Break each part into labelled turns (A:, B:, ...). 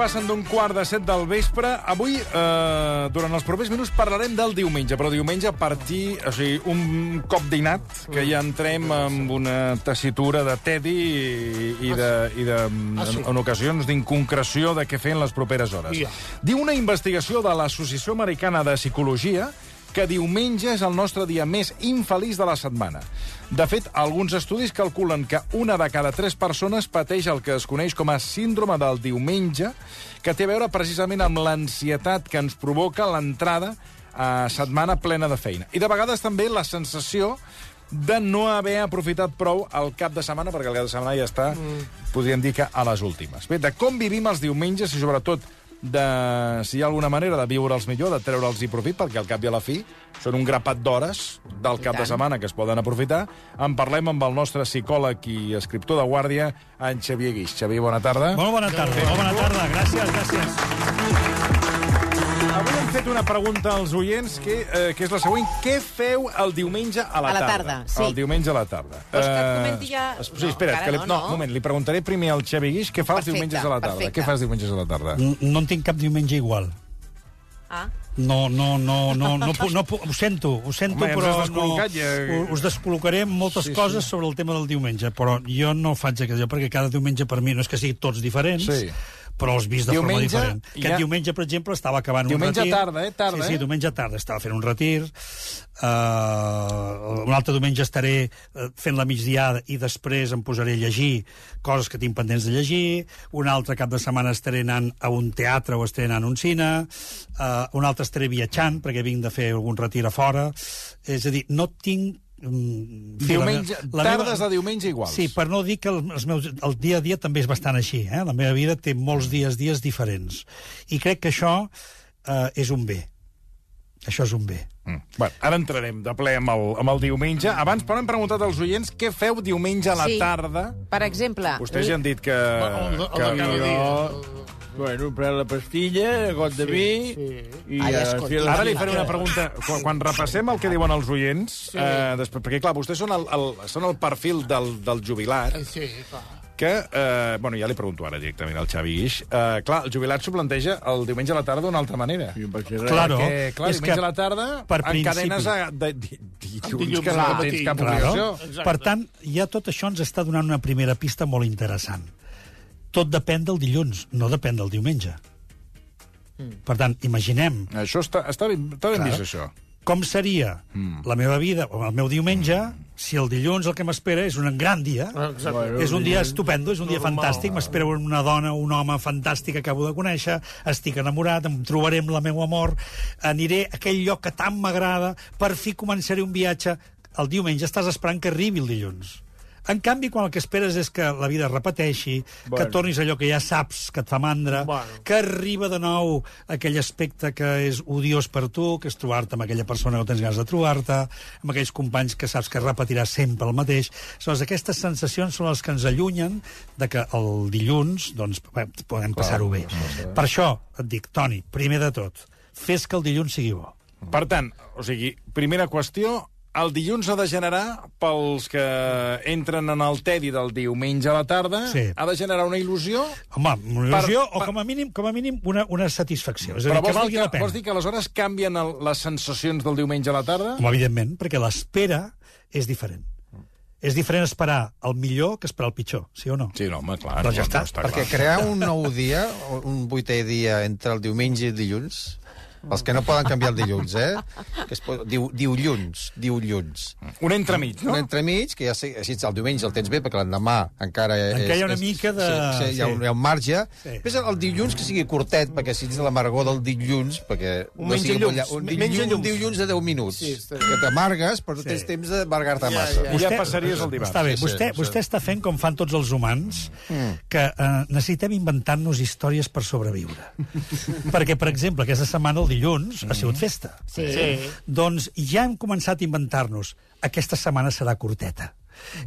A: passen d'un quart de set del vespre. Avui, eh, durant els propers minuts, parlarem del diumenge, però diumenge a partir... O sigui, un cop dinat, que ja entrem amb una tessitura de tedi i, i de, i de,
B: Ah, sí.
A: en, en ocasions d'inconcreció de què fer en les properes hores.
B: Ja.
A: Diu una investigació de l'Associació Americana de Psicologia que diumenge és el nostre dia més infeliç de la setmana. De fet, alguns estudis calculen que una de cada tres persones pateix el que es coneix com a síndrome del diumenge, que té a veure precisament amb l'ansietat que ens provoca l'entrada a setmana plena de feina. I de vegades també la sensació de no haver aprofitat prou el cap de setmana, perquè el cap de setmana ja està, mm. podríem dir que a les últimes. Bé, de com vivim els diumenges i sobretot de, si hi ha alguna manera de viure'ls millor, de treure'ls i profit, perquè al cap i a la fi són un grapat d'hores del cap de setmana que es poden aprofitar. En parlem amb el nostre psicòleg i escriptor de guàrdia, en Xavier Guix. Xavier, bona tarda.
C: Molt bona tarda, molt bona tarda. Gràcies, gràcies.
A: Avui hem fet una pregunta als oients, que, eh, que és la següent. Què feu el diumenge a la,
D: A la
A: tarda?
D: tarda, sí.
A: El diumenge a la tarda.
D: Vols que et
A: Eh,
D: comenti ja?
A: es- Sí,
D: No,
A: espera,
D: encara
A: que li...
D: no,
A: no,
D: no.
A: un moment, li preguntaré primer al Xavi Guix què fa els
D: Perfecte,
A: diumenges a la tarda.
D: perfecte.
A: Què fa els diumenges a la tarda?
C: No en tinc cap diumenge igual.
D: Ah,
C: No, no, no, no, no, puc, no puc, ho sento, ho sento,
A: Home, ja ens
C: però
A: has
C: no,
A: descol·locat, ja.
C: u- us descol·locaré en moltes
A: Sí,
C: sí,
A: sí.
C: coses sobre el tema del diumenge, però jo no faig aquest allò, perquè cada diumenge per mi no és que siguin tots diferents,
A: Sí.
C: però els vist de
A: Diumenge
C: forma diferent. Aquest
A: ja-
C: diumenge, per exemple, estava acabant
A: Diumenge
C: un retir.
A: tarda, eh? Tarda,
C: sí, sí,
A: eh?
C: diumenge tarda estava fent un retir. Uh, un altre diumenge estaré eh, fent la migdiada i després em posaré a llegir coses que tinc pendents de llegir. Un altre cap de setmana estaré anant a un teatre o estaré anant a un cine. Uh, un altre estaré viatjant perquè vinc de fer algun retir a fora. És a dir, no tinc mm, en fi, la
A: Diumenge-
C: me- la
A: tardes de diumenge iguals.
C: Sí, per no dir que el, els meus, el dia a dia també és bastant així. Eh? La meva vida té molts dies, dies diferents. I crec que això eh, és un bé. Això és un bé.
A: Mm. Bueno, ara entrarem de ple amb el, amb el diumenge. Abans, però, hem preguntat als oients què feu diumenge a la
D: Sí.
A: tarda.
D: per exemple...
A: Vostès ja han dit que...
B: el de- el
A: que
B: de cada
A: jo-
B: dia.
E: Bueno, un prat de pastilla, got de vi...
B: sí.
E: I
D: Ai,
E: a
D: escolti,
E: fer la-
A: Ara li faré una pregunta. Quan, quan repassem el que diuen els oients, sí. eh, després, perquè, clar, vostès són el, el, són el perfil del, del jubilat,
B: Sí, clar.
A: que, eh, bueno, ja li pregunto ara directament al Xavi Guix, eh, clar, el jubilat s'ho planteja el diumenge a la tarda d'una altra manera.
E: I em vaig dir,
C: Claro.
A: Perquè, clar,
C: és
A: diumenge a
C: que
A: la tarda
C: per
A: encadenes a, de, di, dilluns
B: dilluns
A: que no
B: al matí.
A: tens cap
B: Claro.
A: obligació.
B: Exacte.
C: Per tant, ja tot això ens està donant una primera pista molt interessant. Tot depèn del dilluns, no depèn del diumenge.
A: Mm.
C: Per tant, imaginem
A: Això està, està ben, està ben
C: Claro.
A: vist, això.
C: com seria mm. la meva vida o el meu diumenge mm. si el dilluns el que m'espera és un gran dia,
B: Exacte.
C: és un dia estupendo, és un dia
B: Normal.
C: fantàstic, m'espera una dona, un home fantàstic que acabo de conèixer, estic enamorat, em trobaré amb la meu amor, aniré a aquell lloc que tant m'agrada, per fi començaré un viatge. El diumenge estàs esperant que arribi el dilluns. En canvi, quan el que esperes és que la vida es repeteixi, bueno. que tornis a allò que ja saps, que et fa mandra,
B: Bueno.
C: bueno. que arriba de nou aquell aspecte que és odiós per tu, que és trobar-te amb aquella persona que no tens ganes de trobar-te, amb aquells companys que saps que repetiràs sempre el mateix. Aleshores, aquestes sensacions són les que ens allunyen de que el dilluns doncs, bé, podem passar-ho bé. Per això et dic, Toni, primer de tot, fes que el dilluns sigui bo.
A: Per tant, o sigui, primera qüestió, el dilluns ha de generar, pels que entren en el tedi del diumenge a la tarda,
C: Sí.
A: ha de generar una il·lusió...
C: Home, una il·lusió,
A: Per- per-
C: o com a mínim, com a mínim una, una satisfacció. És a
A: Però
C: dir,
A: vols
C: que
A: dir,
C: valgui
A: que,
C: la pena.
A: vols dir que aleshores canvien el, les sensacions del diumenge a la tarda?
C: Home, evidentment, perquè l'espera és diferent. És diferent esperar el millor que esperar el pitjor, sí o no?
A: Sí, no, home, clar.
C: Doncs
A: no,
C: ja està,
A: no
F: Perquè
A: clar.
F: crear un nou dia, un vuitè dia entre el diumenge i el dilluns, els que no poden canviar el dilluns, eh? Que es pot... diu, diu lluns, diu lluns.
A: Un entremig,
F: No?
A: no?
F: Un entremig, que ja sé, així el diumenge el tens bé, perquè l'endemà encara...
C: Encara hi ha una mica de-
F: Sí, sí, hi, ha un,
C: sí.
F: hi ha un marge.
C: Sí.
F: Sí. Després el dilluns que sigui curtet, perquè si ets de l'amargor del dilluns, perquè...
B: Un menja llums,
F: llarg, Un,
B: menja
F: dilluns,
B: llums.
F: un dilluns de 10 minuts.
B: Sí,
F: Sí,
B: està bé.
F: que t'amargues, però no tens
C: Sí.
F: temps d'amargar-te
B: Ja,
F: massa.
B: ja.
A: I ja passaries el dimarts.
C: Està bé,
F: Sí, sí,
C: vostè,
F: sí.
C: vostè està fent com fan tots els humans, que eh, necessitem inventar-nos històries per sobreviure. Perquè, per exemple, aquesta setmana, el dilluns, ha sigut festa. Eh,
D: Sí.
B: Sí.
C: Doncs ja hem començat a inventar-nos. Aquesta setmana serà curteta.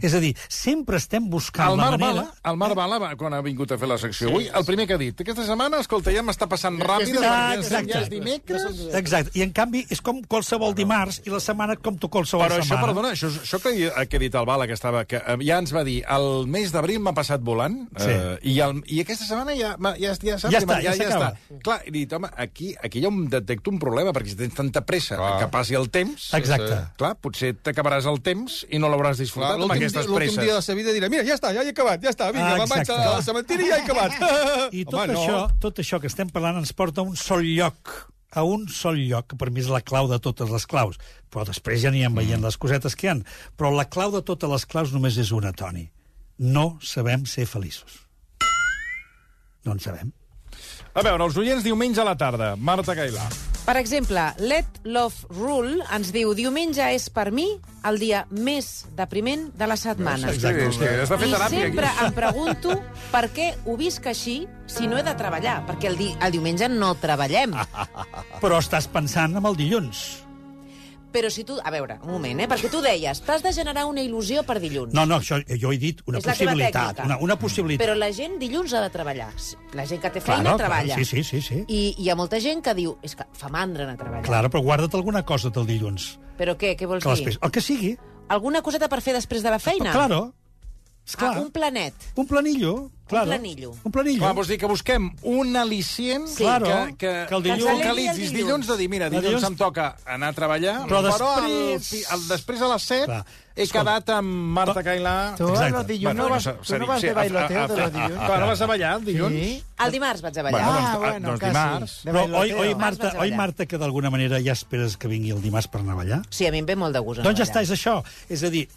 C: És a dir, sempre estem buscant
A: El Marc
C: la manera...
A: Bala, el Marc Bala, va- quan ha vingut a fer la secció avui, el primer que ha dit, aquesta setmana, escolta, ja m'està passant ràpid, ja és-
C: Ah,
A: ja és
C: exacte.
A: dimecres...
C: Exacte. I, en canvi, és com qualsevol dimarts i la setmana com tu qualsevol
A: Però això,
C: setmana.
A: perdona, això, això que, eh, que ha dit el Bala, que, estava, que eh, ja ens va dir, el mes d'abril m'ha passat volant,
C: Sí.
A: eh, i, el, i aquesta setmana ja, m'ha- ja, ja, saps,
C: Ja
A: que
C: està,
A: m'ha-
C: ja s'acaba.
A: Clar, he dit, home, aquí, aquí ja em detecto un problema, perquè si tens tanta pressa
F: Clar.
A: que passi el temps...
C: Exacte.
F: Sí,
A: Clar, potser t'acabaràs el temps i no l'hauràs
F: Clar,
A: disfrutat amb
F: L'últim dia,
A: aquestes
F: l'últim
A: presses.
F: dia de la seva vida dirà, mira, ja està, ja he acabat, ja està, vinga,
C: Ah,
F: ah, vaig
C: exacte.
F: al cementiri i ja he acabat.
C: I tot, Home, això, no. tot això que estem parlant ens porta a un sol lloc, a un sol lloc, que per mi és la clau de totes les claus. Però després ja anirem veient les cosetes que hi han. Però la clau de totes les claus només és una, Toni. No sabem ser feliços. No en sabem.
A: A veure, els oients diumenge a la tarda. Marta Cailà.
D: Per exemple, Let Love Rule ens diu diumenge és per mi el dia més depriment de la setmana.
A: Exacte. És que has de fer
D: I
A: teràpia.
D: sempre em pregunto per què ho visc així si no he de treballar, perquè el, di el diumenge no treballem.
C: Però estàs pensant en el dilluns.
D: Però si tu... A veure, un moment, eh? Perquè tu deies, t'has de generar una il·lusió per dilluns.
C: No, no, això eh, jo he dit una
D: És la teva
C: possibilitat.
D: tècnica.
C: Una, una possibilitat.
D: Però la gent dilluns ha de treballar. La gent que té
C: Claro,
D: feina
C: claro,
D: treballa.
C: sí, sí, sí, sí.
D: I hi ha molta gent que diu, és que fa mandra anar a treballar.
C: Claro, però guarda't alguna cosa del dilluns.
D: Però què, què vols
C: Que les
D: dir?
C: pes- el que sigui.
D: Alguna coseta per fer després de la feina?
C: Claro. Esclar.
D: Ah, un planet.
C: Un planillo, claro.
D: planillo.
C: Un planillo.
A: Clar, vols dir que busquem un al·licient
D: Sí.
A: que,
C: Claro,
A: que,
C: que el
A: que
C: dilluns-
A: focalitzis
D: Que
A: dilluns de dir, mira, dilluns,
C: dilluns-
A: em toca anar a treballar,
C: Però
A: però,
C: després-
A: al, fi- al, després a les 7
C: Clar.
A: he
C: Escolta.
A: quedat amb Marta Cailà...
B: Tu
C: Exacte.
B: los dilluns no vas, tu no vas de bailoteo de los dilluns.
A: Però vas a ballar el dilluns?
B: Sí.
C: Ah.
D: El dimarts vaig a ballar.
A: Bueno, doncs,
B: Ah,
A: ah,
B: bueno,
A: doncs
B: casi.
A: dimarts.
B: De
C: Però oi,
B: bailoteo.
C: oi,
D: Dimarts
C: Marta,
D: vaig a
C: oi,
D: ballar.
C: Marta, que d'alguna manera ja esperes que vingui el dimarts per anar a ballar?
D: Sí, a mi em ve molt de gust anar
C: doncs ja
D: a
C: està,
D: ballar.
C: és això. És a dir,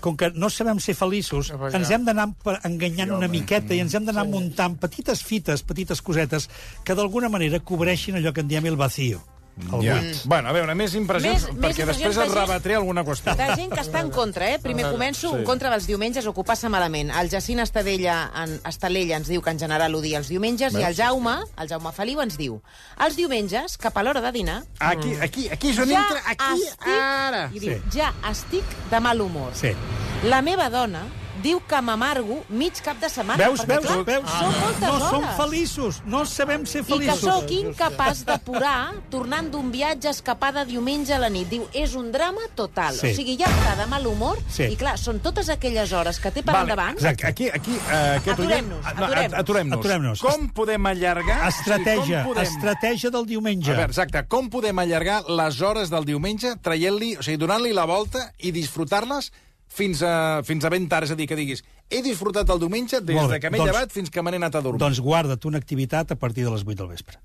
C: com que no sabem ser feliços,
B: A ballar.
C: ens hem d'anar per- enganyant una miqueta i ens hem d'anar muntant petites fites, petites cosetes, que d'alguna manera cobreixin allò que en diem el vacío. El
A: Ja.
D: Mm.
C: buit.
A: Bueno, a veure, més impressions,
D: Més- més
A: perquè després
D: impressions
A: et
D: de gent-
A: rebatré alguna qüestió.
D: De gent que està en contra, eh?
C: Ah,
D: Primer començo, en contra dels diumenges o que ho passa malament. El Jacint Estadella, en, Estalella ens diu que en general odia els diumenges i el Jaume, el Jaume Feliu, ens diu els diumenges, cap a l'hora de dinar,
A: Aquí, aquí, aquí és on
D: ja
A: entra... Aquí,
D: estic...
A: ara!
D: I diu,
C: Sí.
D: ja estic de mal humor.
C: Sí.
D: La meva dona diu que m'amargo mig cap de setmana.
C: Veus,
D: perquè,
C: veus,
D: clar,
C: veus?
D: Són moltes
C: no
D: hores.
C: som feliços, no sabem ser
D: I que
C: feliços.
D: sóc incapaç d'apurar tornant d'un viatge escapada diumenge a la nit. Diu, és un drama total.
C: Sí.
D: O sigui, ja està de mal humor.
C: Sí.
D: I clar, són totes aquelles hores que té per
A: Vale,
D: endavant.
A: Exacte. Aquí, aquí, eh, aquest oient-
D: Aturem-nos,
A: Ah, no,
D: aturem-nos.
A: aturem-nos.
C: Aturem-nos.
A: Com podem allargar...
C: Estratègia,
A: Sí, com podem...
C: estratègia del diumenge.
A: A veure, exacte, com podem allargar les hores del diumenge traient-li, o sigui, donant-li la volta i disfrutar-les fins a, fins a ben tard, és a dir, que diguis he disfrutat el diumenge des
C: Molt bé,
A: de que m'he
C: doncs-
A: llevat fins que me n'he anat a dormir.
C: Doncs guarda't una activitat a partir de les 8 del vespre.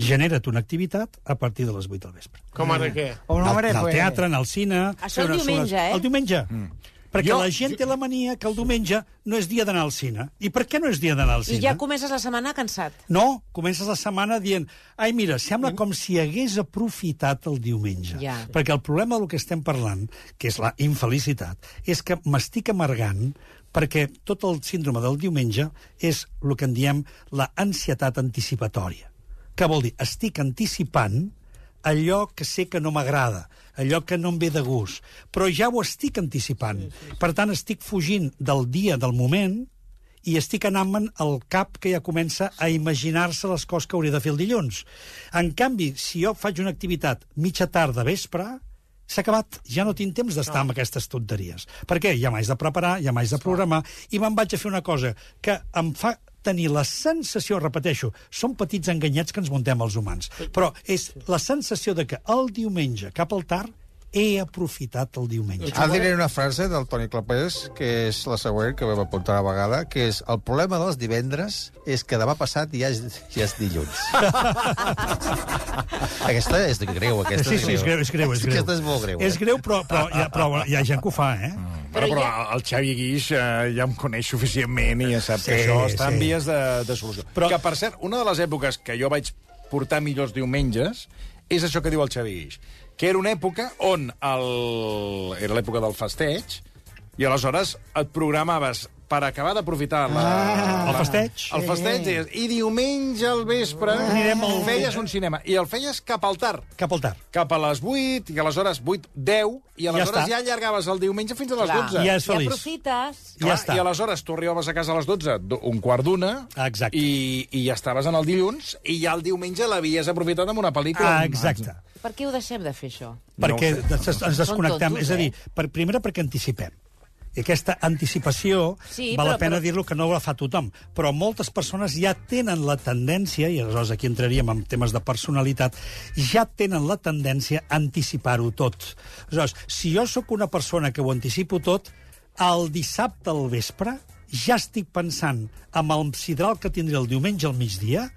C: Genera't una activitat a partir de les 8 del vespre.
G: Com ara què?
B: O un hombre
C: anar al
B: fue-
C: teatre, anar al cine...
D: Això el
C: fer unes
D: diumenge,
C: soles-
D: eh?
C: El diumenge. Mm. Perquè
A: Jo-
C: jo, la gent té la mania que el diumenge no és dia d'anar al cine. I per què no és dia d'anar al
D: I
C: cine?
D: ja comences la setmana cansat.
C: No, comences la setmana dient ai, mira, sembla com si hagués aprofitat el diumenge.
D: Ja.
C: Perquè el problema del que estem parlant, que és la infelicitat, és que m'estic amargant perquè tot el síndrome del diumenge és el que en diem la ansietat anticipatòria. Què vol dir? Estic anticipant allò que sé que no m'agrada, allò que no em ve de gust, però ja ho estic anticipant. Per tant, estic fugint del dia, del moment, i estic anant-me'n al cap que ja comença a imaginar-se les coses que hauré de fer el dilluns. En canvi, si jo faig una activitat mitja tarda, vespre, s'ha acabat. Ja no tinc temps d'estar amb aquestes tonteries. Per què? Ja m'haig de preparar, ja m'haig de programar, i me'n vaig a fer una cosa que em fa tenir la sensació, repeteixo, són petits enganyets que ens muntem els humans, però és la sensació de que el diumenge cap al tard he aprofitat el diumenge.
F: Ara Ah, diré una frase del Toni Clapés, que és la següent, que vam apuntar a vegada, que és el problema dels divendres és que demà passat ja és, ja és dilluns. aquesta és greu, aquesta
C: Sí, sí, és greu, és greu. És greu.
F: Aquesta és molt greu. eh?
C: És greu, però, però, hi ha, però hi ha gent que ho fa, eh?
A: Però,
D: Però
A: però
D: ja-
A: el Xavi Guix eh, ja em coneix suficientment i ja sap sí, que
C: Sí,
A: això està en
C: sí.
A: vies de, de solució. Però...
C: Però-
A: Que, per cert, una de les èpoques que jo vaig portar millors diumenges és això que diu el Xavi Guix, que era una època on el... era l'època del festeig i aleshores et programaves per acabar d'aprofitar la,
C: Ah. El festeig. Ah.
A: El festeig deies, i diumenge al vespre
C: Anirem al-
A: feies un cinema. I el feies cap al tard,
C: Cap al tard.
A: cap a les 8, i aleshores 8, 10, i aleshores
C: està.
A: ja, allargaves el diumenge fins a les
D: Clar.
A: 12.
C: Ja és
D: I
C: feliç.
D: aprofites...
A: Clar,
C: ja està.
A: Ah, I aleshores tu arribaves a casa a les 12, do- un quart d'una,
C: Exacte.
A: i, i ja estaves en el dilluns, i ja el diumenge l'havies aprofitat amb una pel·lícula.
C: Ah, exacte.
D: Per què ho deixem de fer, això?
C: perquè
A: ho sé.
C: des- ens desconnectem.
D: tontos,
C: És a dir,
D: eh?
C: per, primera perquè anticipem. I aquesta anticipació
D: Sí,
C: val
D: però-
C: la pena
D: però-
C: dir-lo que no la fa tothom, però moltes persones ja tenen la tendència, i aleshores aquí entraríem en temes de personalitat, ja tenen la tendència a anticipar-ho tot. Aleshores, si jo sóc una persona que ho anticipo tot, el dissabte al vespre ja estic pensant amb el sidral que tindré el diumenge al migdia,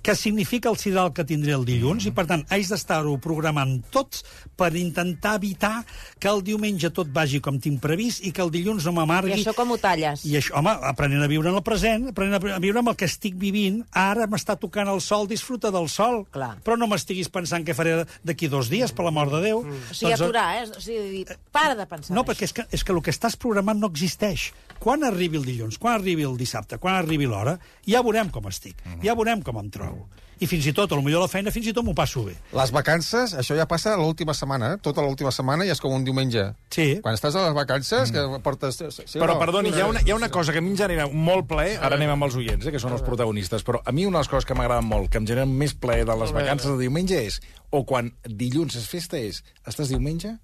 C: que significa el sidral que tindré el dilluns, i per tant haig d'estar-ho programant tots per intentar evitar que el diumenge tot vagi com tinc previst i que el dilluns no
D: I
C: m'amargui
D: això com ho talles?
C: i això, home, aprenent a viure en el present, aprenent a a viure amb el que estic vivint, ara m'està tocant el sol, disfruta del sol,
D: Clar.
C: però no m'estiguis pensant què faré d'aquí dos dies, per l'amor de Déu. Doncs,
D: O sigui, aturar, eh? O sigui, dir, para de pensar
C: No,
D: en
C: perquè és que, és que el que estàs programant no existeix. Quan arribi el dilluns, quan arribi el dissabte, quan arribi l'hora, ja veurem com estic,
A: Mm-hmm.
C: ja veurem com em trobo. I fins i tot, a lo millor la feina, fins i tot m'ho passo bé.
F: Les vacances, això ja passa l'última setmana, eh? tota l'última setmana ja és com un diumenge.
C: Sí. Mm.
F: Quan estàs a les vacances, que portes... Sí, sí o
A: Però,
F: no?
A: perdoni, hi ha, una, hi ha una cosa que a mi em genera molt plaer, ara anem amb els oients, eh, que són els protagonistes, però a mi una de les coses que m'agrada molt, que em genera més plaer de les vacances de diumenge és, o quan dilluns és festa, és, estàs diumenge,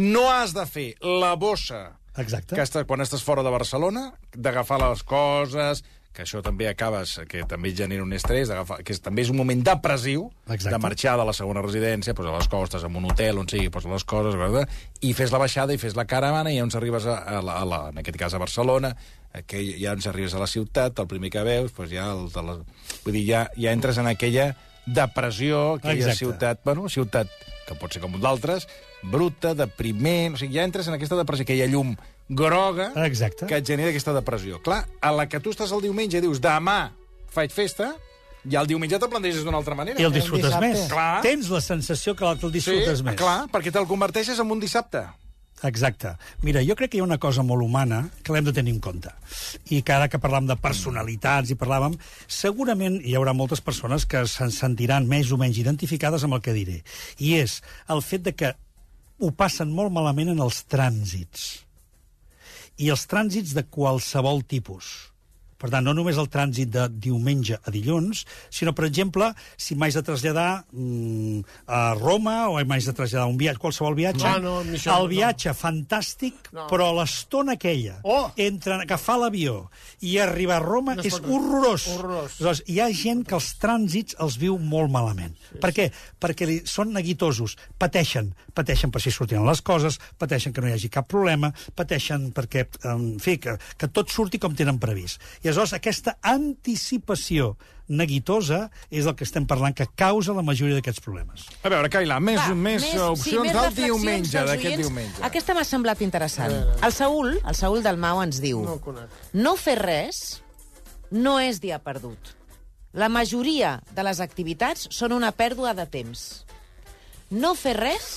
A: no has de fer la bossa
C: Exacte.
A: que estàs, quan estàs fora de Barcelona, d'agafar les coses, que això també acabes, que també et genera un estrès, d'agafar- que és, també és un moment depressiu,
C: Exacte.
A: de marxar de la segona residència, pues, a les costes, en un hotel, on sigui, pues, a les coses, verdad? i fes la baixada, i fes la caravana, i ja ens arribes, a, a, la, a la, en aquest cas a Barcelona, eh, que ja ens arribes a la ciutat, el primer que veus, pues, ja, el, de la, vull dir, ja, ja entres en aquella depressió, aquella
C: Exacte.
A: Exacte. ciutat, bueno, ciutat que pot ser com d'altres, bruta, depriment, o sigui, ja entres en aquesta depressió, aquella llum groga,
C: Exacte.
A: que et genera aquesta depressió. Clar, a la que tu estàs el diumenge i dius demà faig festa, i el diumenge te'l planteges d'una altra manera.
C: I el disfrutes
B: dissabte.
C: més.
A: Clar.
C: Tens la sensació que l'altre el disfrutes més.
A: clar, perquè te'l converteixes en un dissabte.
C: Exacte. Mira, jo crec que hi ha una cosa molt humana que l'hem de tenir en compte. I que ara que parlàvem de personalitats i parlàvem, segurament hi haurà moltes persones que se'n sentiran més o menys identificades amb el que diré. I és el fet de que ho passen molt malament en els trànsits. I els trànsits de qualsevol tipus. Per tant, no només el trànsit de diumenge a dilluns, sinó, per exemple, si m'haig de traslladar mm, a Roma o m'haig de traslladar a un viatge, qualsevol viatge,
G: No, no, Michel,
C: el
G: no.
C: viatge fantàstic, no. però l'estona aquella
G: Oh!
C: entre agafar l'avió i arribar a Roma
G: No es
C: és
G: pot res.
C: horrorós.
G: Horrorós.
C: Aleshores, hi ha gent que els trànsits els viu molt malament. Sí, per què? Perquè li, són neguitosos, pateixen, pateixen per si sortien les coses, pateixen que no hi hagi cap problema, pateixen perquè, en fi, que, que tot surti com tenen previst. I aleshores aquesta anticipació neguitosa és el que estem parlant que causa la majoria d'aquests problemes.
A: A veure, Caila, més,
D: Va,
A: més,
D: sí,
A: opcions del
D: reflexions
A: diumenge,
D: dels
A: d'aquest
D: oients.
A: diumenge.
D: Aquesta m'ha semblat interessant. El Saül, el Saül del Mau, ens diu...
G: No el conec.
D: No fer res no és dia perdut. La majoria de les activitats són una pèrdua de temps. No fer res...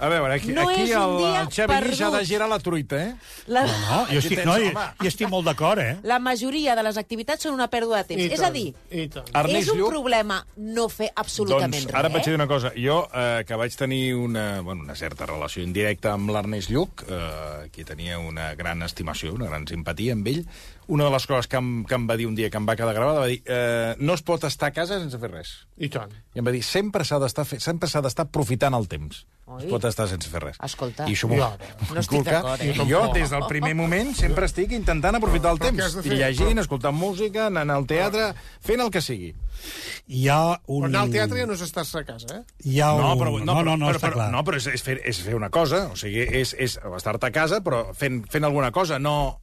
A: A veure, aquí,
D: No
A: aquí
D: és
A: el,
D: un dia
A: el Xavi Lluís ja ha de
D: perdut.
A: girar la truita, eh?
D: La...
C: No, jo estic, no, jo,
A: home.
C: jo estic molt d'acord, eh?
D: La majoria de les activitats són una pèrdua de temps.
G: I
D: és a
G: tant,
D: dir,
G: I tant.
A: Ernest
D: és un
A: Lluch-
D: problema no fer absolutament
A: doncs,
D: res.
A: ara et vaig dir una cosa. Jo, eh, que vaig tenir una, bueno, una certa relació indirecta amb l'Ernest Lluc, eh, que tenia una gran estimació, una gran simpatia amb ell, una de les coses que em, que em va dir un dia que em va quedar gravada, va dir eh, no es pot estar a casa sense fer res.
G: I tant.
A: I em va dir, sempre s'ha d'estar fe- sempre s'ha d'estar aprofitant el temps.
D: Oi.
A: Es pot estar sense fer res.
D: Escolta.
A: I això m'ho
G: Ja.
A: m'ho
D: No estic
A: inculca.
D: d'acord,
G: eh?
A: I Jo, des del primer moment, sempre estic intentant aprofitar el
G: Però què has
A: temps.
G: de fer?
A: Llegint, escoltant música, anant al teatre, fent el que sigui.
C: Hi ha un...
G: Però anar al teatre ja no és estar-se a casa, eh?
C: Hi ha un...
A: No, però,
C: no, no, no,
A: però,
C: està
A: però,
C: clar.
A: no, però és, és, fer, és fer una cosa, o sigui, és, és estar-te a casa, però fent, fent alguna cosa, no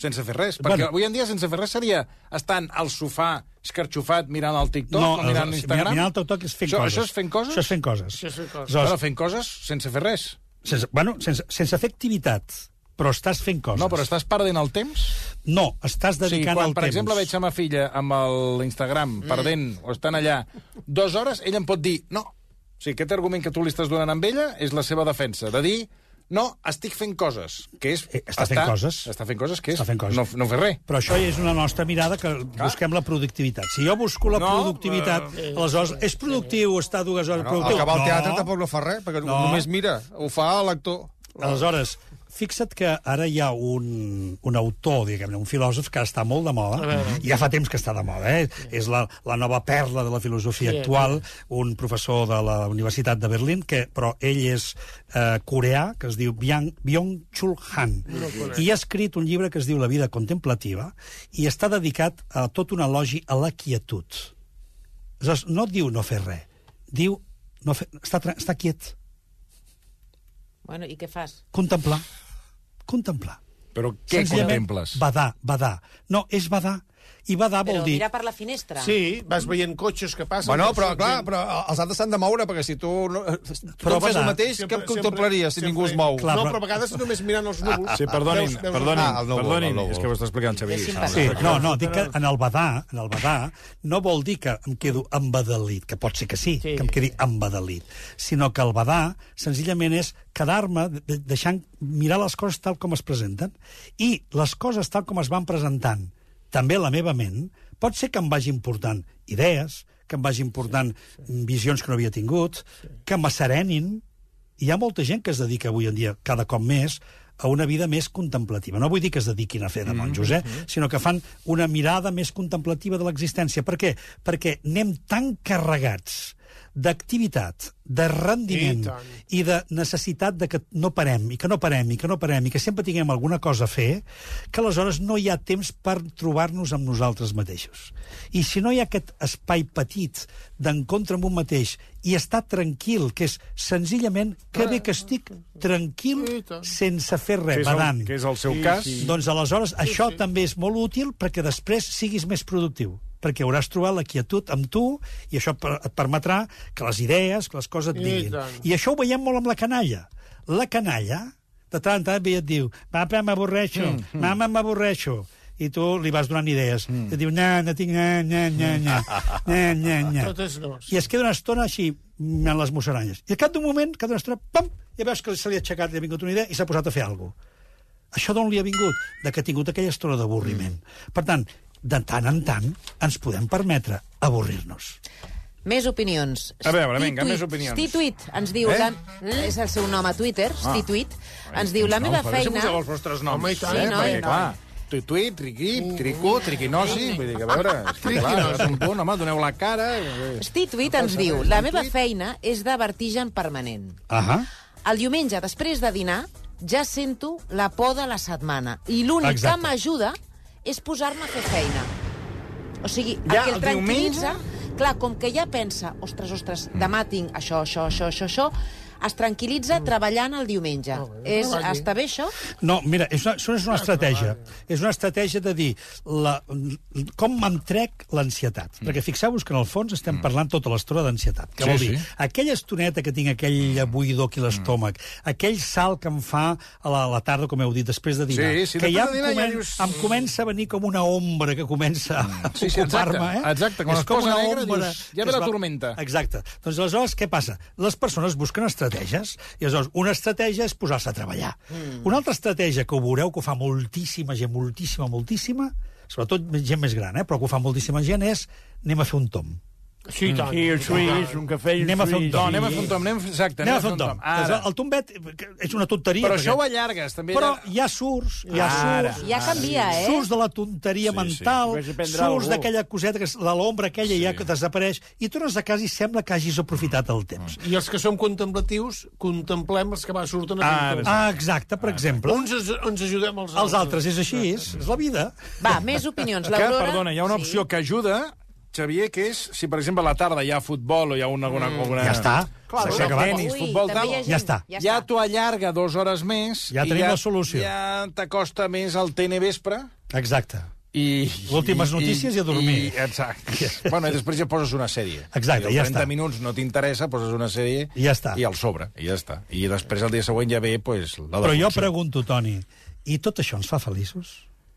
A: sense fer res. Perquè
C: Bueno.
A: bueno. avui en dia sense fer res seria estant al sofà escarxofat mirant el TikTok
C: no, eh,
A: o mirant l'Instagram.
C: Mirar el TikTok és fent
A: això,
C: coses.
A: Això és fent coses?
C: Això és fent coses.
G: Això és fer coses.
A: Bueno,
C: Aleshores,
A: fent coses sense fer res.
C: sense, bueno, sense, sense fer activitat, però estàs fent coses.
A: No, però estàs perdent el temps?
C: No, estàs
A: O sigui,
C: dedicant
A: quan,
C: el
A: per
C: temps.
A: exemple, veig a ma filla amb el- l'Instagram
C: Mm.
A: perdent o estan allà dues hores, ella em pot dir no. O sigui, aquest argument que tu li estàs donant amb ella és la seva defensa, de dir No, estic fent coses, que és...
C: Eh, està fent coses.
A: Està fent coses, que és
C: Està fent coses.
A: No, no fer res.
C: Però això és una nostra mirada que busquem la productivitat. Si jo busco la
A: No,
C: productivitat, aleshores, és productiu estar dues hores
F: No,
C: productiu?
F: acabar el teatre tampoc no fa res, perquè no.
C: No.
F: només mira, ho fa l'actor.
C: Aleshores, fixa't que ara hi ha un, un autor, diguem-ne, un filòsof que està molt de moda, i ja fa temps que està de moda, eh? És la, la nova perla de la filosofia
B: Sí,
C: actual, un professor de la Universitat de Berlín, que, però ell és eh, coreà, que es diu Byung, Byung-Chul Han, i ha escrit un llibre que es diu La vida contemplativa, i està dedicat a tot un elogi a la quietud. Aleshores, no diu no fer res, diu no fer, està, tra- està quiet,
D: Bueno, i què fas?
C: contemplar, contemplar.
A: Però què
C: Senzillament,
A: contemples?
C: Badar, badar. No, és badar. I badar
D: Però
C: vol dir...
D: mirar per la finestra.
G: Sí, vas veient cotxes que passen.
F: Bueno,
G: que
F: però,
G: surten.
F: clar, però eh, els altres s'han de moure, perquè si tu... No,
C: Però
F: però fes
C: va,
F: el mateix,
G: Sempre-
F: que contemplaries si
G: sempre-
F: ningú es mou?
C: Clar,
G: no,
C: però-
G: però a vegades només mirant els núvols.
A: Sí, perdonin,
G: Veus- veus-
A: perdonin,
F: Ah, el núvol, el
A: perdonin.
F: núvol.
A: És que ho està explicant Xavier.
D: Deixi'm
A: Ah,
D: parlar.
C: Sí, no, no, dic que en el badar, en el badar, no vol dir que em quedo embadalit, que pot ser que sí, sí. que em quedi embadalit, sinó que el badar senzillament és quedar-me de- de- deixant mirar les coses tal com es presenten i les coses tal com es van presentant, també la meva ment, pot ser que em vagin portant idees, que em vagin portant visions que no havia tingut, que m'asserenin, hi ha molta gent que es dedica avui en dia cada cop més a una vida més contemplativa. No vull dir que es dediquin a fer de
G: Mm-hmm.
C: monjos, eh? sinó que fan una mirada més contemplativa de l'existència. Per què? Perquè anem tan carregats d'activitat, de rendiment
G: I tant.
C: i de necessitat de que no parem, i que no parem, i que no parem, i que sempre tinguem alguna cosa a fer, que aleshores no hi ha temps per trobar-nos amb nosaltres mateixos. I si no hi ha aquest espai petit d'encontre amb un mateix i estar tranquil, que és senzillament que bé que estic tranquil
G: Ah, I tant.
C: sense fer
A: Que
C: res,
A: és, el,
C: badant.
A: que és el seu cas.
C: Doncs aleshores això també és molt útil perquè després siguis més productiu perquè hauràs trobat la quietud amb tu i això per- et permetrà que les idees, que les coses et
G: I
C: vinguin.
G: tant.
C: I això ho veiem molt amb la canalla. La canalla, de tant en tant, ve i et diu «Papa, m'avorreixo, mm, mama, m'avorreixo». I tu li vas donant idees. Mm. Et diu «Na, no tinc... Na, na, na, na, na, na, na».
G: Totes dues.
C: I es queda una estona així, mm, en les musaranyes. I al cap d'un moment, cap d'una estona, pam, ja veus que se li ha aixecat, li ha vingut una idea i s'ha posat a fer alguna cosa. Això d'on li ha vingut? De que ha tingut aquella estona d'avorriment. Mm. Per tant, de tant en tant, ens podem permetre avorrir-nos.
D: Més opinions.
A: A veure, vinga,
D: Stituit-
A: més opinions.
D: Stituit ens diu...
A: Eh?
D: Eh? La... És el seu nom a Twitter, ah. Stituit. Ens diu,
C: Doncs,
D: la meva feina...
A: Deixem els vostres noms.
G: Home, i tant,
D: Sí,
A: eh?
D: no,
A: Perquè,
D: i tant.
A: clar, tuituit, triquip, tricú, triquinosi, vull dir que a veure... és que, Clar, és un punt, home, doneu la cara... eh,
D: Stituit ens diu, la meva feina és de vertigen permanent.
C: Ahà.
D: El diumenge, després de dinar, ja sento la por de la setmana. I l'únic que
C: Exacte.
D: m'ajuda és posar-me a fer feina. O sigui, el
A: Ja,
D: que el
A: el diumenge? Mm.
D: tranquil·litza... Clar, com que ja pensa, ostres, ostres, demà tinc això, això, això, això, això, es tranquil·litza
A: Mm.
D: treballant el diumenge. És, està bé, això?
C: No, mira, és una, això és una estratègia. És una estratègia de dir la, com me'n trec l'ansietat. Perquè fixeu-vos que en el fons estem parlant tota l'estona d'ansietat. Que
A: Mm. Sí,
C: vol dir,
A: sí.
C: aquella estoneta que tinc, aquell buidor aquí a l'estómac,
A: Mm.
C: aquell salt que em fa a la, a la tarda, com heu dit, després de dinar,
A: Sí, sí,
C: que ja
A: després de
C: em,
A: dinar ja
C: comen,
A: dius- Mm.
C: em comença a venir com una ombra que comença a
A: Sí, sí, exacte,
C: ocupar-me. eh?
A: exacte, quan
C: és
A: es
C: com
A: posa
C: una
A: negre,
C: ombra...
A: dius, ja
C: que
A: ve
C: es
A: la
C: va-
A: tormenta.
C: Exacte. Doncs aleshores, què passa? Les persones busquen estratègies, i aleshores una estratègia és posar-se a treballar. Mm. Una altra estratègia que ho veureu que ho fa moltíssima gent, moltíssima, moltíssima, sobretot gent més gran, eh? però que ho fa moltíssima gent, és anem a fer un tom.
G: Sí, i tant.
E: I els suís, un cafè... i els
C: Anem a fer un
E: suís.
C: tom.
A: No, anem a fer un tom, anem, exacte,
C: Anem, a fer un tom.
A: Ara.
C: El tombet que és una tonteria.
A: Però
C: perquè-
A: això ho allargues, també.
C: Però
A: allà-
C: ja surts, ja
A: Ara.
C: surts.
D: Ja canvia, eh?
C: Surts de la tonteria sí, mental,
E: Vaig
C: sí.
E: aprendre
C: surts
E: algú.
C: d'aquella coseta, que és de l'ombra aquella sí. ja que desapareix, i tornes a casa i sembla que hagis aprofitat el temps.
G: I els que som contemplatius, contemplem els que va surten a
A: Ara
G: pintor.
C: Ah, exacte, per exemple.
G: Uns ens, ens ajudem els altres.
C: Els altres és així, és, és la vida.
D: Va, més opinions.
A: Que,
D: L'Aurora...
A: perdona, hi ha una opció que ajuda, Xavier, que és, si per exemple a la tarda hi ha futbol o hi ha una...
D: Mm.
A: alguna... alguna...
C: Ja està.
A: Clar,
C: S'ha acabat.
A: tenis,
D: Ui,
A: futbol,
D: també
A: tal,
D: hi ha
A: ja,
D: gent-
C: Ja està.
A: ja,
D: està.
A: t'ho allarga dues hores més...
C: Ja
A: i
C: tenim la solució.
A: Ja t'acosta més al TN vespre
C: Exacte.
A: i...
C: Últimes notícies i a dormir.
A: I, exacte. bueno, i després ja poses una sèrie.
C: Exacte,
A: I
C: ja
A: 30
C: està.
A: minuts no t'interessa, poses una sèrie...
C: I ja està.
A: I al sobre, i ja està. I després el dia següent ja ve, pues, la
C: Però jo
A: defunció.
C: pregunto, Toni, i tot això ens fa feliços?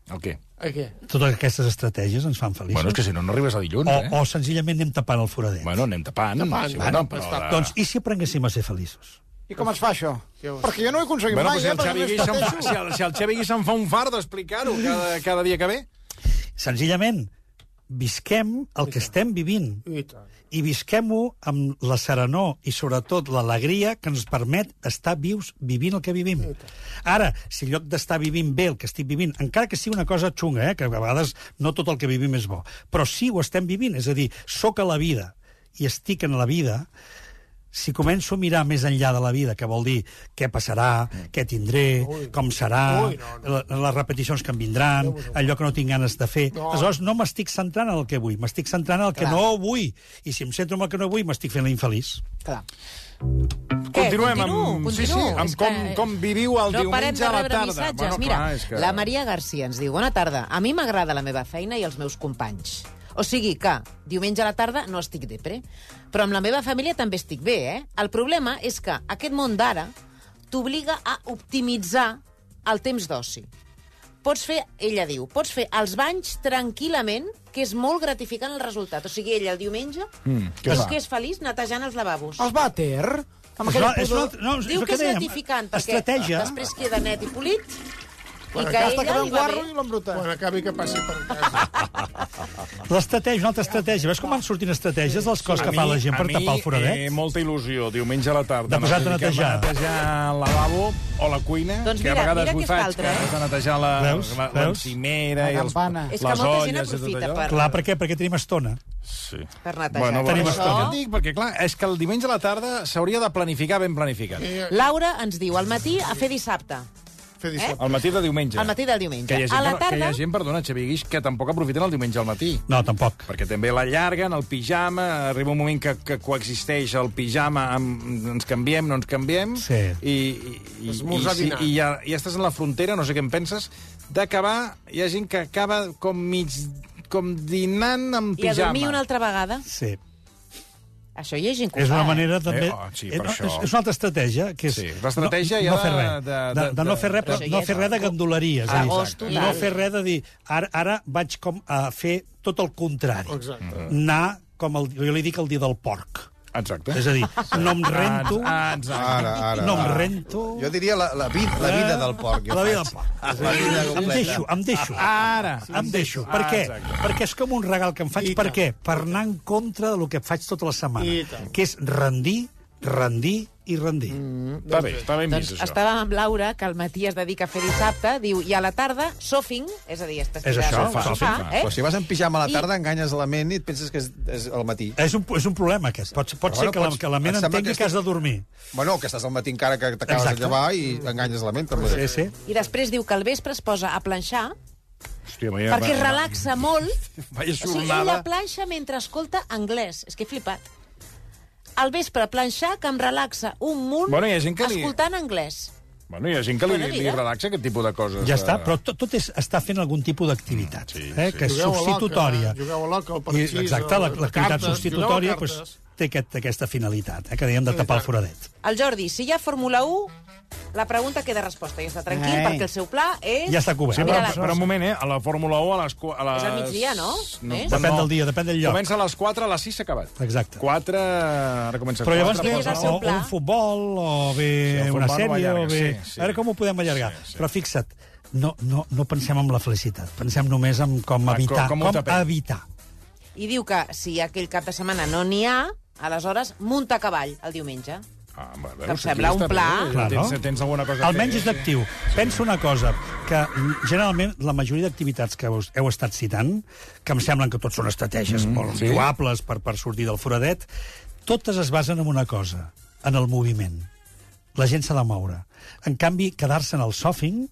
A: El què?
G: A què?
C: Totes aquestes estratègies ens fan feliços?
A: Bueno, és que si no, no arribes a dilluns,
C: o,
A: eh?
C: o senzillament anem tapant el foradet?
A: Bueno, ah. anem tapant.
G: Tapant,
A: sí,
G: bueno,
A: bueno, però...
G: està.
A: la-
C: Doncs i si aprenguéssim a ser feliços?
B: I com es fa això? Perquè jo no ho he aconseguit
A: Bueno,
B: mai,
A: pues si,
B: eh?
A: el Xavi
B: perquè
A: Guix
B: només
A: se'n fa,
B: pateixo.
A: si, el, si el Xavi Guix se'n fa un fart d'explicar-ho cada, cada dia que ve.
C: Senzillament, visquem el que estem vivint
G: I tant.
C: i visquem-ho amb la serenor i, sobretot, l'alegria que ens permet estar vius vivint el que vivim. Ara, si en lloc d'estar vivint bé el que estic vivint, encara que sigui una cosa xunga, eh, que a vegades no tot el que vivim és bo, però sí ho estem vivint, és a dir, sóc a la vida i estic en la vida, si començo a mirar més enllà de la vida, que vol dir què passarà, què tindré, com serà,
G: Ui, no, no.
C: la- les repeticions que em vindran, allò que no tinc ganes de fer...
G: No.
C: Aleshores, no m'estic centrant en el que vull, m'estic centrant en el que no vull. I si em centro en el que no vull, m'estic fent la infeliç.
B: Clar.
A: Continuem
D: Què? Continuo,
A: amb, sí,
D: continuo.
A: sí, amb
D: És
A: com,
D: que
A: com viviu el
D: no parem
A: diumenge
D: de
A: a la
D: rebre
A: tarda.
D: Missatges. Mira,
A: clar, és
D: que... la Maria Garcia ens diu, bona tarda, a mi m'agrada la meva feina i els meus companys. O sigui que, diumenge a la tarda no estic depre, però amb la meva família també estic bé, eh? El problema és que aquest món d'ara t'obliga a optimitzar el temps d'oci. Pots fer, ella diu, pots fer els banys tranquil·lament, que és molt gratificant el resultat. O sigui, ella el diumenge
A: Mm, que
D: és
A: va.
D: que és feliç netejant els lavabos.
B: Els vàter, amb
C: És
B: aquella
C: una- és
B: pudor...
C: una- no, és
D: Diu
C: el
D: que és
C: dèiem,
D: gratificant, perquè
C: Estratègia.
D: després queda net i polit, i
B: Quan
D: que
B: gasta que
D: ella
B: ve un
D: li va bé.
B: guarro i l'embruta.
G: Quan acabi que passi per casa.
C: L'estratègia, una altra estratègia. Veus com van sortint estratègies de les coses que fa la gent per
A: a mi,
C: tapar el foradet?
A: Eh, molta il·lusió, diumenge a la tarda.
C: De posar-te a
A: Ens dediquem
C: netejar.
A: netejar el lavabo o la cuina,
D: Doncs
A: que
D: mira,
A: a vegades
D: mira
A: ho
D: aquesta
A: faig,
D: altra,
A: que
D: eh?
A: has de netejar la-
C: Veus?
A: la-
C: Veus?
A: l'encimera
B: La
A: i els,
B: campana.
D: És
A: les
D: que molta gent
A: olles i tot
D: aprofita
A: allò.
D: per-
C: Clar, per què? Perquè tenim estona.
A: Sí.
D: Per netejar.
A: Bueno,
D: Tenim
A: bueno,
D: estona.
A: això ho dic perquè, clar, és que el diumenge a la tarda s'hauria de planificar ben planificat.
D: Laura ens diu, al matí a fer dissabte.
G: Fer dissabte.
A: Al matí de diumenge.
D: Al matí del diumenge.
A: Que hi ha gent,
D: a la
A: que no- que hi
D: tarda...
A: ha gent perdona, Xavier Guix, que tampoc aprofiten el diumenge al matí.
C: No, tampoc.
A: Perquè també l'allarguen, el pijama, arriba un moment que, que coexisteix el pijama amb ens canviem, no ens canviem,
C: Sí.
A: i, i, i, i,
G: Esmorzar,
A: si-
G: dinar.
A: i ja, ja estàs en la frontera, no sé què en penses, d'acabar, hi ha gent que acaba com mig com dinant amb
D: I a
A: pijama.
D: dormir una altra vegada.
C: Sí.
D: Això hi ha gent que ho
C: És una
D: fa, eh?
C: manera també...
A: Eh, oh, sí, per
C: no,
A: això.
C: és, és una altra estratègia, que és
A: Sí, l'estratègia
C: no,
A: ja
C: no fer
A: de-
C: res. De,
A: de-
C: de,
A: de-
C: de no fer res,
D: Això
C: però
D: ja
C: no
D: és
C: fer res de gandoleria. és a dir,
D: Agost total.
C: No fer res de dir, ara, ara vaig com a fer tot el contrari.
G: Exacte.
C: Anar com el, jo li dic el dia del porc.
A: Exacte.
C: És a dir, no em rento,
A: Ah, exacte.
F: Ara, ara.
C: no em
F: ara.
C: rento...
F: Jo diria la, la, vid, la vida del porc. jo
C: La vida
F: faig.
C: del porc.
F: La vida
C: Em
F: completa.
C: deixo, em deixo.
A: Ara.
C: Em deixo.
A: Ah,
C: Per què?
A: exacte.
C: Perquè és com un regal que em faig.
G: I
C: Per
G: tant.
C: què? Per anar en contra del que faig tota la
G: I
C: setmana,
G: tant.
C: que és rendir, rendir i rendir.
A: Està bé, està ben
D: Doncs
A: vist, això.
D: estàvem amb Laura, que al matí es dedica a fer dissabte, diu, i a la tarda, sofing, és a dir, estàs
C: És
D: tirada
C: això,
D: al sofà,
C: sofing,
D: eh?
F: Però si vas en pijama a
D: I-
F: la tarda, enganyes la ment i et penses que és, és el matí.
C: És un, és un problema, aquest. Pot, pot
F: Però
C: ser
F: bueno,
C: que, la,
F: pots-
C: que la ment
F: et sembla
C: entengui que,
F: que
C: has de dormir.
F: Bueno, que estàs al matí encara que t'acabes
C: Exacte.
F: de llevar i enganyes la ment, també.
C: Sí, sí.
D: I després diu que al vespre es posa a planxar,
A: Hòstia, vaya,
D: perquè es relaxa molt
A: Vaya
D: O sigui,
A: jornada.
D: ella planxa mentre escolta anglès. És que he flipat. Al vespre, planxar, que em relaxa un munt
A: Bueno, hi ha gent que li-
D: escoltant anglès.
A: Bueno, hi ha gent que li,
D: Bueno,
A: li
D: mira.
A: relaxa aquest tipus de coses.
C: Ja està,
A: eh,
C: però tot, tot és estar fent algun tipus d'activitat,
A: Sí,
C: eh,
A: sí.
C: que és
G: Jugueu a l'oca,
C: substitutòria.
G: jugueu a l'oca, al
C: I,
G: parxís,
C: exacte,
G: a-
C: la-
G: a
C: l'activitat
G: cartes,
C: substitutòria
G: jugueu a
C: pues,
G: cartes.
C: té aquest, aquesta finalitat, eh, que dèiem de tapar el foradet.
D: El Jordi, si hi ha Fórmula 1, la pregunta queda resposta. Ja està tranquil,
B: Ai.
D: perquè el seu pla és...
C: Ja està cobert.
A: Sí, però,
D: Mira la-
A: però un moment, eh? A la Fórmula 1 a les... cua- A les...
D: És al migdia, no? Eh?
C: Depèn del dia, depèn del lloc.
A: Comença a les 4, a les 6 s'ha acabat.
C: Exacte.
A: 4... Ara comença
C: Però llavors
D: Quin és el
C: tens
D: seu
C: o,
D: pla?
C: un futbol, o bé
A: Sí, el
C: una
A: futbol no ho
C: sèrie, o
A: allarga,
C: bé...
A: sí, sí.
C: A veure com ho podem allargar.
A: Sí, sí.
C: Però fixa't, no, no, no pensem en la felicitat, pensem només en com
A: Ah,
C: evitar,
A: com- com ho
C: com,
A: tapem.
C: evitar.
D: I diu que si aquell cap de setmana no n'hi ha, aleshores munta a cavall el diumenge.
A: Ah, home, veus,
D: Que em
A: aquí
D: sembla un
A: està bé.
D: pla.
C: Clar,
A: tens,
C: no?
A: tens alguna cosa a
C: Almenys
A: fer,
C: és
A: eh?
C: actiu. Penso una cosa, que mm, generalment la majoria d'activitats que us heu estat citant, que em semblen que tot són estratègies mm, molt
A: sí.
C: sí. lloables per, per sortir del foradet, totes es basen en una cosa, en el moviment. La gent s'ha de moure. En canvi, quedar-se en el sofing,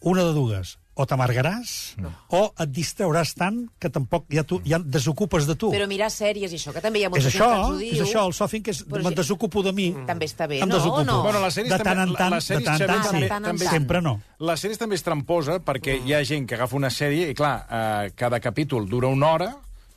C: una de dues, o t'amargaràs, no. o et distrauràs tant que tampoc ja, tu, ja et desocupes
A: Uh.
C: de tu.
D: Però mirar sèries i això, que també hi ha
C: és
D: molta gent
C: això,
D: que ens ho diu.
C: és això, el sofing, que és,
D: Però
C: me'n
D: si-
C: desocupo de mi.
D: També està bé,
C: Em
D: no?
C: desocupo.
D: O no?
A: Bueno, les sèries
C: de tant en
A: també-
C: tant,
A: les sèries,
C: de tant en
A: Xavi,
C: tant, sí.
D: també- tant en tant.
C: sempre no.
A: La sèrie també és tramposa perquè hi ha gent que agafa una sèrie i, clar, eh, cada capítol dura una hora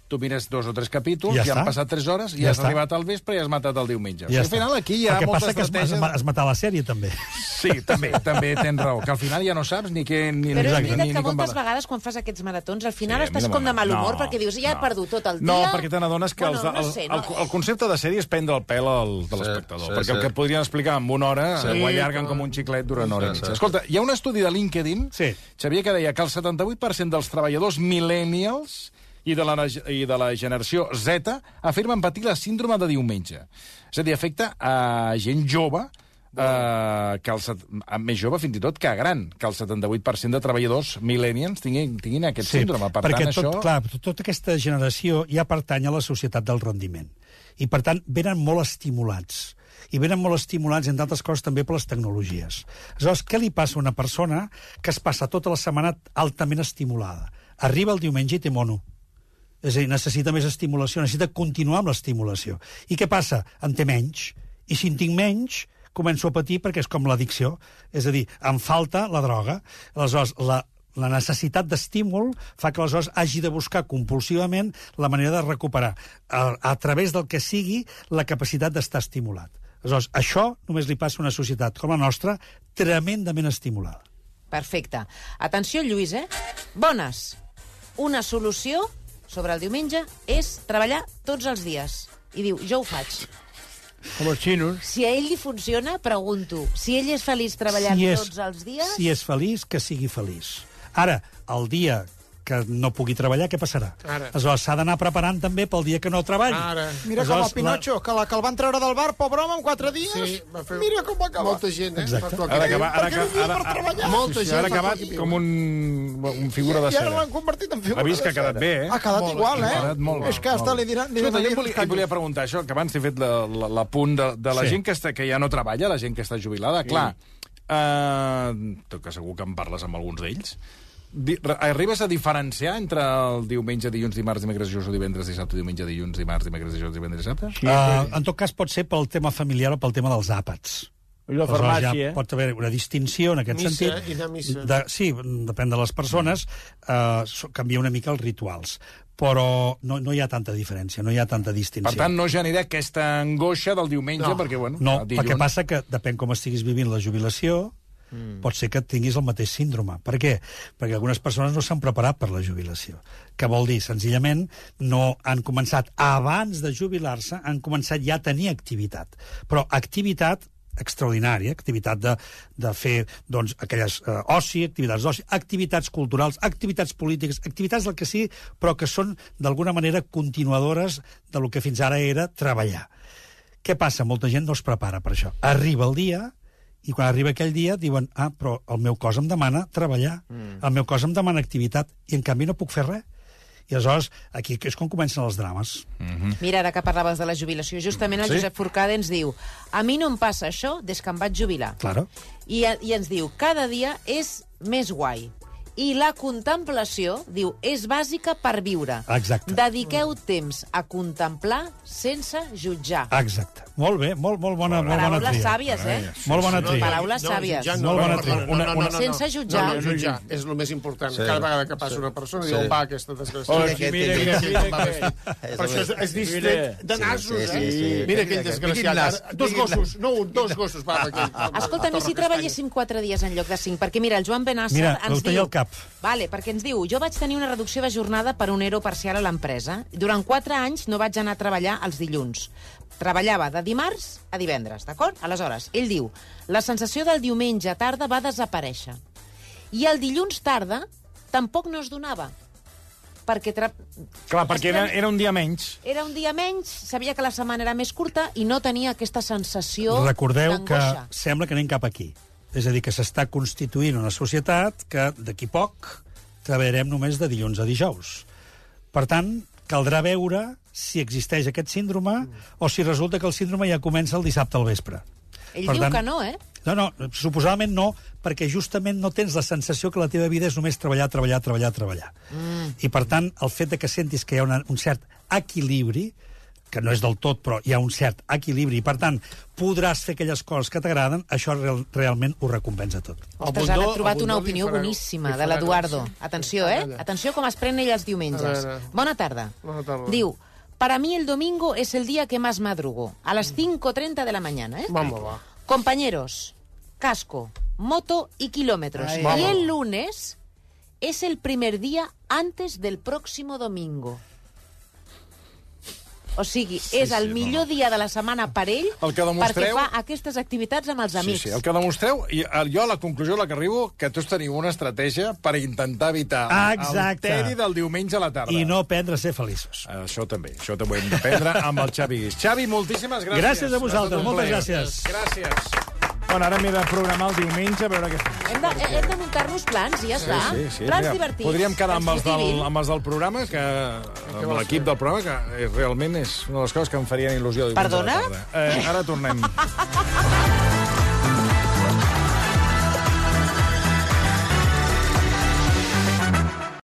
A: tu mires dos o tres capítols,
C: Ja
A: ja, ja
C: està.
A: han passat tres hores, i
C: Ja
A: ja has
C: està.
A: arribat al vespre i has matat el diumenge. O sigui,
C: Ja
A: al final
C: està.
A: aquí hi ha
C: el que
A: molta
C: passa que es, es,
A: estratègia...
C: es matar la sèrie, també.
A: Sí, també, també tens raó, que al final ja no saps ni què... Ni,
D: Però és
A: ni,
D: veritat
A: ni, ni
D: que
A: com va
D: moltes
A: la-
D: vegades quan fas aquests maratons al final
A: Sí, a mi
D: estàs
A: no
D: com de mal
A: m'agrada.
D: humor
A: No,
D: perquè dius ja he
A: no.
D: perdut tot el dia.
A: No, perquè te n'adones que
D: bueno,
A: els,
D: no
A: els,
D: sé,
A: el, el concepte de sèrie és prendre el pèl al, de l'espectador,
F: sí,
A: perquè el
F: sí.
A: que podrien explicar en una hora
F: Sí.
A: sí, ho allarguen com un xiclet durant una hora i
F: Sí,
A: mitja.
F: sí.
A: Escolta, hi ha un estudi de LinkedIn,
C: Sí.
A: Xavier, que deia que el 78% dels treballadors millennials i de, la, nege- i de la generació Z afirmen patir la síndrome de diumenge. És a dir, afecta a gent jove, eh, que el, set- a més jove fins i tot que gran, que el 78% de treballadors millennials tinguin, tinguin aquest síndrome. Per
C: perquè
A: tant,
C: tot,
A: això...
C: clar, tot- tota aquesta generació ja pertany a la societat del rendiment. I, per tant, venen molt estimulats. I venen molt estimulats, entre altres coses, també per les tecnologies. Aleshores, què li passa a una persona que es passa tota la setmana altament estimulada? Arriba el diumenge i té mono. És a dir, necessita més estimulació, necessita continuar amb l'estimulació. I què passa? En té menys. I si en tinc menys, començo a patir perquè és com l'addicció. És a dir, em falta la droga. Aleshores, la, la necessitat d'estímul fa que aleshores hagi de buscar compulsivament la manera de recuperar, a, a través del que sigui, la capacitat d'estar estimulat. Aleshores, això només li passa a una societat com la nostra tremendament estimulada.
D: Perfecte. Atenció, Lluís, eh? Bones. Una solució sobre el diumenge és treballar tots els dies. I diu, jo ho faig.
E: Com els xinos.
D: Si a ell li funciona, pregunto, si ell és feliç treballant tots els dies...
C: Si és feliç, que sigui feliç. Ara, el dia que no pugui treballar, què passarà?
G: Ara.
C: Aleshores, s'ha d'anar preparant també pel dia que no treballi.
G: Ara.
B: Mira com el Pinocho, que, la, que el van treure del bar, pobre home, en quatre dies.
G: Sí, va fer...
B: Mira com va acabar.
G: Molta gent, eh?
C: Exacte.
G: Fa
A: Ara que va, ara
B: Per què
A: que,
B: no hi ha
A: ara,
B: per
A: ara,
B: treballar?
G: Molta
A: sí,
G: gent
A: ara
G: fa
A: que va
G: poc i viu.
A: com un, un figura de
B: I ara
A: cera.
B: l'han convertit en figura
A: Ha vist que ha quedat bé, eh?
B: Ha quedat
G: Molt,
B: igual, eh?
A: Ha quedat molt bé,
B: És que
A: molt
B: hasta
A: bé.
B: li diran... Li
A: Escolta,
B: diran
A: jo volia, et volia preguntar això, que abans t'he fet la- la- l'apunt la, de, de la
C: Sí.
A: sí. gent que, està, que ja no treballa, la gent que està jubilada. Sí. Clar, eh, tu que segur que en parles amb alguns d'ells, di- re- arribes a diferenciar entre el diumenge, dilluns, dimarts, dimecres, dijous, divendres, dissabte, diumenge, dilluns, dimarts, dimecres, dijous, divendres, dissabte? Sí.
C: Uh, en tot cas, pot ser pel tema familiar o pel tema dels àpats.
E: I la
C: Aleshores,
A: eh?
E: farmàcia.
C: Ja pot haver una distinció en aquest
G: Missa,
C: sentit.
G: i anar a missa.
C: De, sí, depèn de les persones, eh, so- canvia una mica els rituals. Però no, no hi ha tanta diferència, no hi ha tanta distinció.
A: Per tant, no generar aquesta angoixa del diumenge,
G: No.
A: no. perquè, bueno,
C: No,
A: el
C: dilluns... perquè passa que depèn com estiguis vivint la jubilació, mm. pot ser que tinguis el mateix síndrome. Per què? Perquè algunes persones no s'han preparat per la jubilació. Que vol dir, senzillament, no han començat abans de jubilar-se, han començat ja a tenir activitat. Però activitat extraordinària, activitat de, de fer doncs, aquelles eh, oci, activitats d'oci, activitats culturals, activitats polítiques, activitats del que sí, però que són d'alguna manera continuadores de lo que fins ara era treballar. Què passa? Molta gent no es prepara per això. Arriba el dia i quan arriba aquell dia diuen ah, però el meu cos em demana treballar, mm. el meu cos em demana activitat i en canvi no puc fer res. I aleshores, aquí és com comencen els drames.
D: Mira, ara que parlaves de la jubilació, justament el sí? Josep Forcada ens diu a mi no em passa això des que em vaig jubilar.
C: Claro.
D: I, I ens diu, cada dia és més guai. I la contemplació, diu, és bàsica per viure.
C: Exacte.
D: Dediqueu temps a contemplar sense jutjar.
C: Exacte. Molt bé, molt, molt Ah, bona, molt bona
D: Paraules
C: tria.
D: sàvies, eh?
C: Molt bona tria.
D: Paraules sàvies.
G: jutjar
C: Molt bona
G: perdona,
C: tria.
D: Sense jutjar.
G: No, no, jutjar. És el més important. Sí. Cada vegada que passa una persona, sí. diu, va, aquesta desgràcia.
E: Oh,
F: Mira
E: sí,
F: aquest,
E: mira, mira,
F: aquest, aquest.
E: mira,
G: Va,
E: mira.
G: va, Per això és, és distret de
F: Sí,
G: nassos,
F: sí,
G: eh?
F: sí, sí, sí.
G: Mira aquell
F: Mira,
G: desgraciat.
F: vinguin nas,
G: Ara, Dos
F: vinguin
G: gossos, no un, dos gossos. Va, aquell.
D: Escolta'm, i si treballéssim 4 dies en lloc de 5? Perquè, mira, el Joan Benassa
C: Mira,
D: ens
C: ho tenia
D: diu...
C: al cap.
D: Vale, perquè ens diu, jo vaig tenir una reducció de jornada per un ero parcial a l'empresa. Durant 4 anys no vaig anar a treballar els dilluns. Treballava de dimarts a divendres, d'acord? Aleshores, ell diu, la sensació del diumenge tarda va desaparèixer. I el dilluns tarda tampoc no es donava. Perquè tra...
A: Clar, perquè era, era un dia menys.
D: era un dia menys, sabia que la setmana era més curta i no tenia aquesta sensació
C: Recordeu que
D: d'angoixa.
C: sembla que anem cap aquí. És a dir, que s'està constituint una societat que d'aquí poc treballarem només de dilluns a dijous. Per tant, caldrà veure si existeix aquest síndrome o si resulta que el síndrome ja comença el dissabte al vespre.
D: Ell diu que no, eh?
C: No, no, suposadament no, perquè justament no tens la sensació que la teva vida és només treballar, treballar, treballar, treballar. Mm. I, per tant, el fet de que sentis que hi ha una, un cert equilibri que no és del tot, però hi ha un cert equilibri. Per tant, podràs fer aquelles coses que t'agraden, això real, realment ho recompensa tot.
D: Ostres, ara he trobat una opinió boníssima de l'Eduardo. Atenció, eh? Atenció com es pren ella els diumenges.
G: A veure.
D: Bona tarda.
G: Bona tarda.
D: Diu, para mí el domingo es el día que más madrugo, a las 5.30 de la mañana, ¿eh?
G: Vamos, va.
D: Compañeros, casco, moto y kilómetros.
G: Ay.
D: y
G: Vamos.
D: el lunes es el primer día antes del próximo domingo. O sigui, sí, és el sí, millor no. dia de la setmana per ell
A: El que
D: perquè
A: demostreu-
D: fa aquestes activitats amb els amics.
A: Sí, sí, el que demostreu, i el- jo a la conclusió a la que arribo, que tots teniu una estratègia per intentar evitar
C: Exacte.
A: el teri del diumenge a la tarda. Eh,
C: I no aprendre a ser feliços.
A: Això també, això també ho hem d'aprendre amb el Xavi Guix. Xavi, moltíssimes gràcies.
C: Gràcies a vosaltres,
A: Un
C: moltes
A: plaer.
C: gràcies.
A: Gràcies. Bueno, ara m'he de programar el diumenge a veure què fem.
D: Hem de, hem de muntar-nos plans i ja està. plans
A: mira,
D: divertits.
A: Podríem quedar amb els,
D: plans que
A: del,
D: motivin.
A: amb els del programa, que, amb l'equip del programa, que eh, realment és una de les coses que em farien il·lusió. diumenge a la
D: Perdona?
A: tarda. Eh, ara tornem.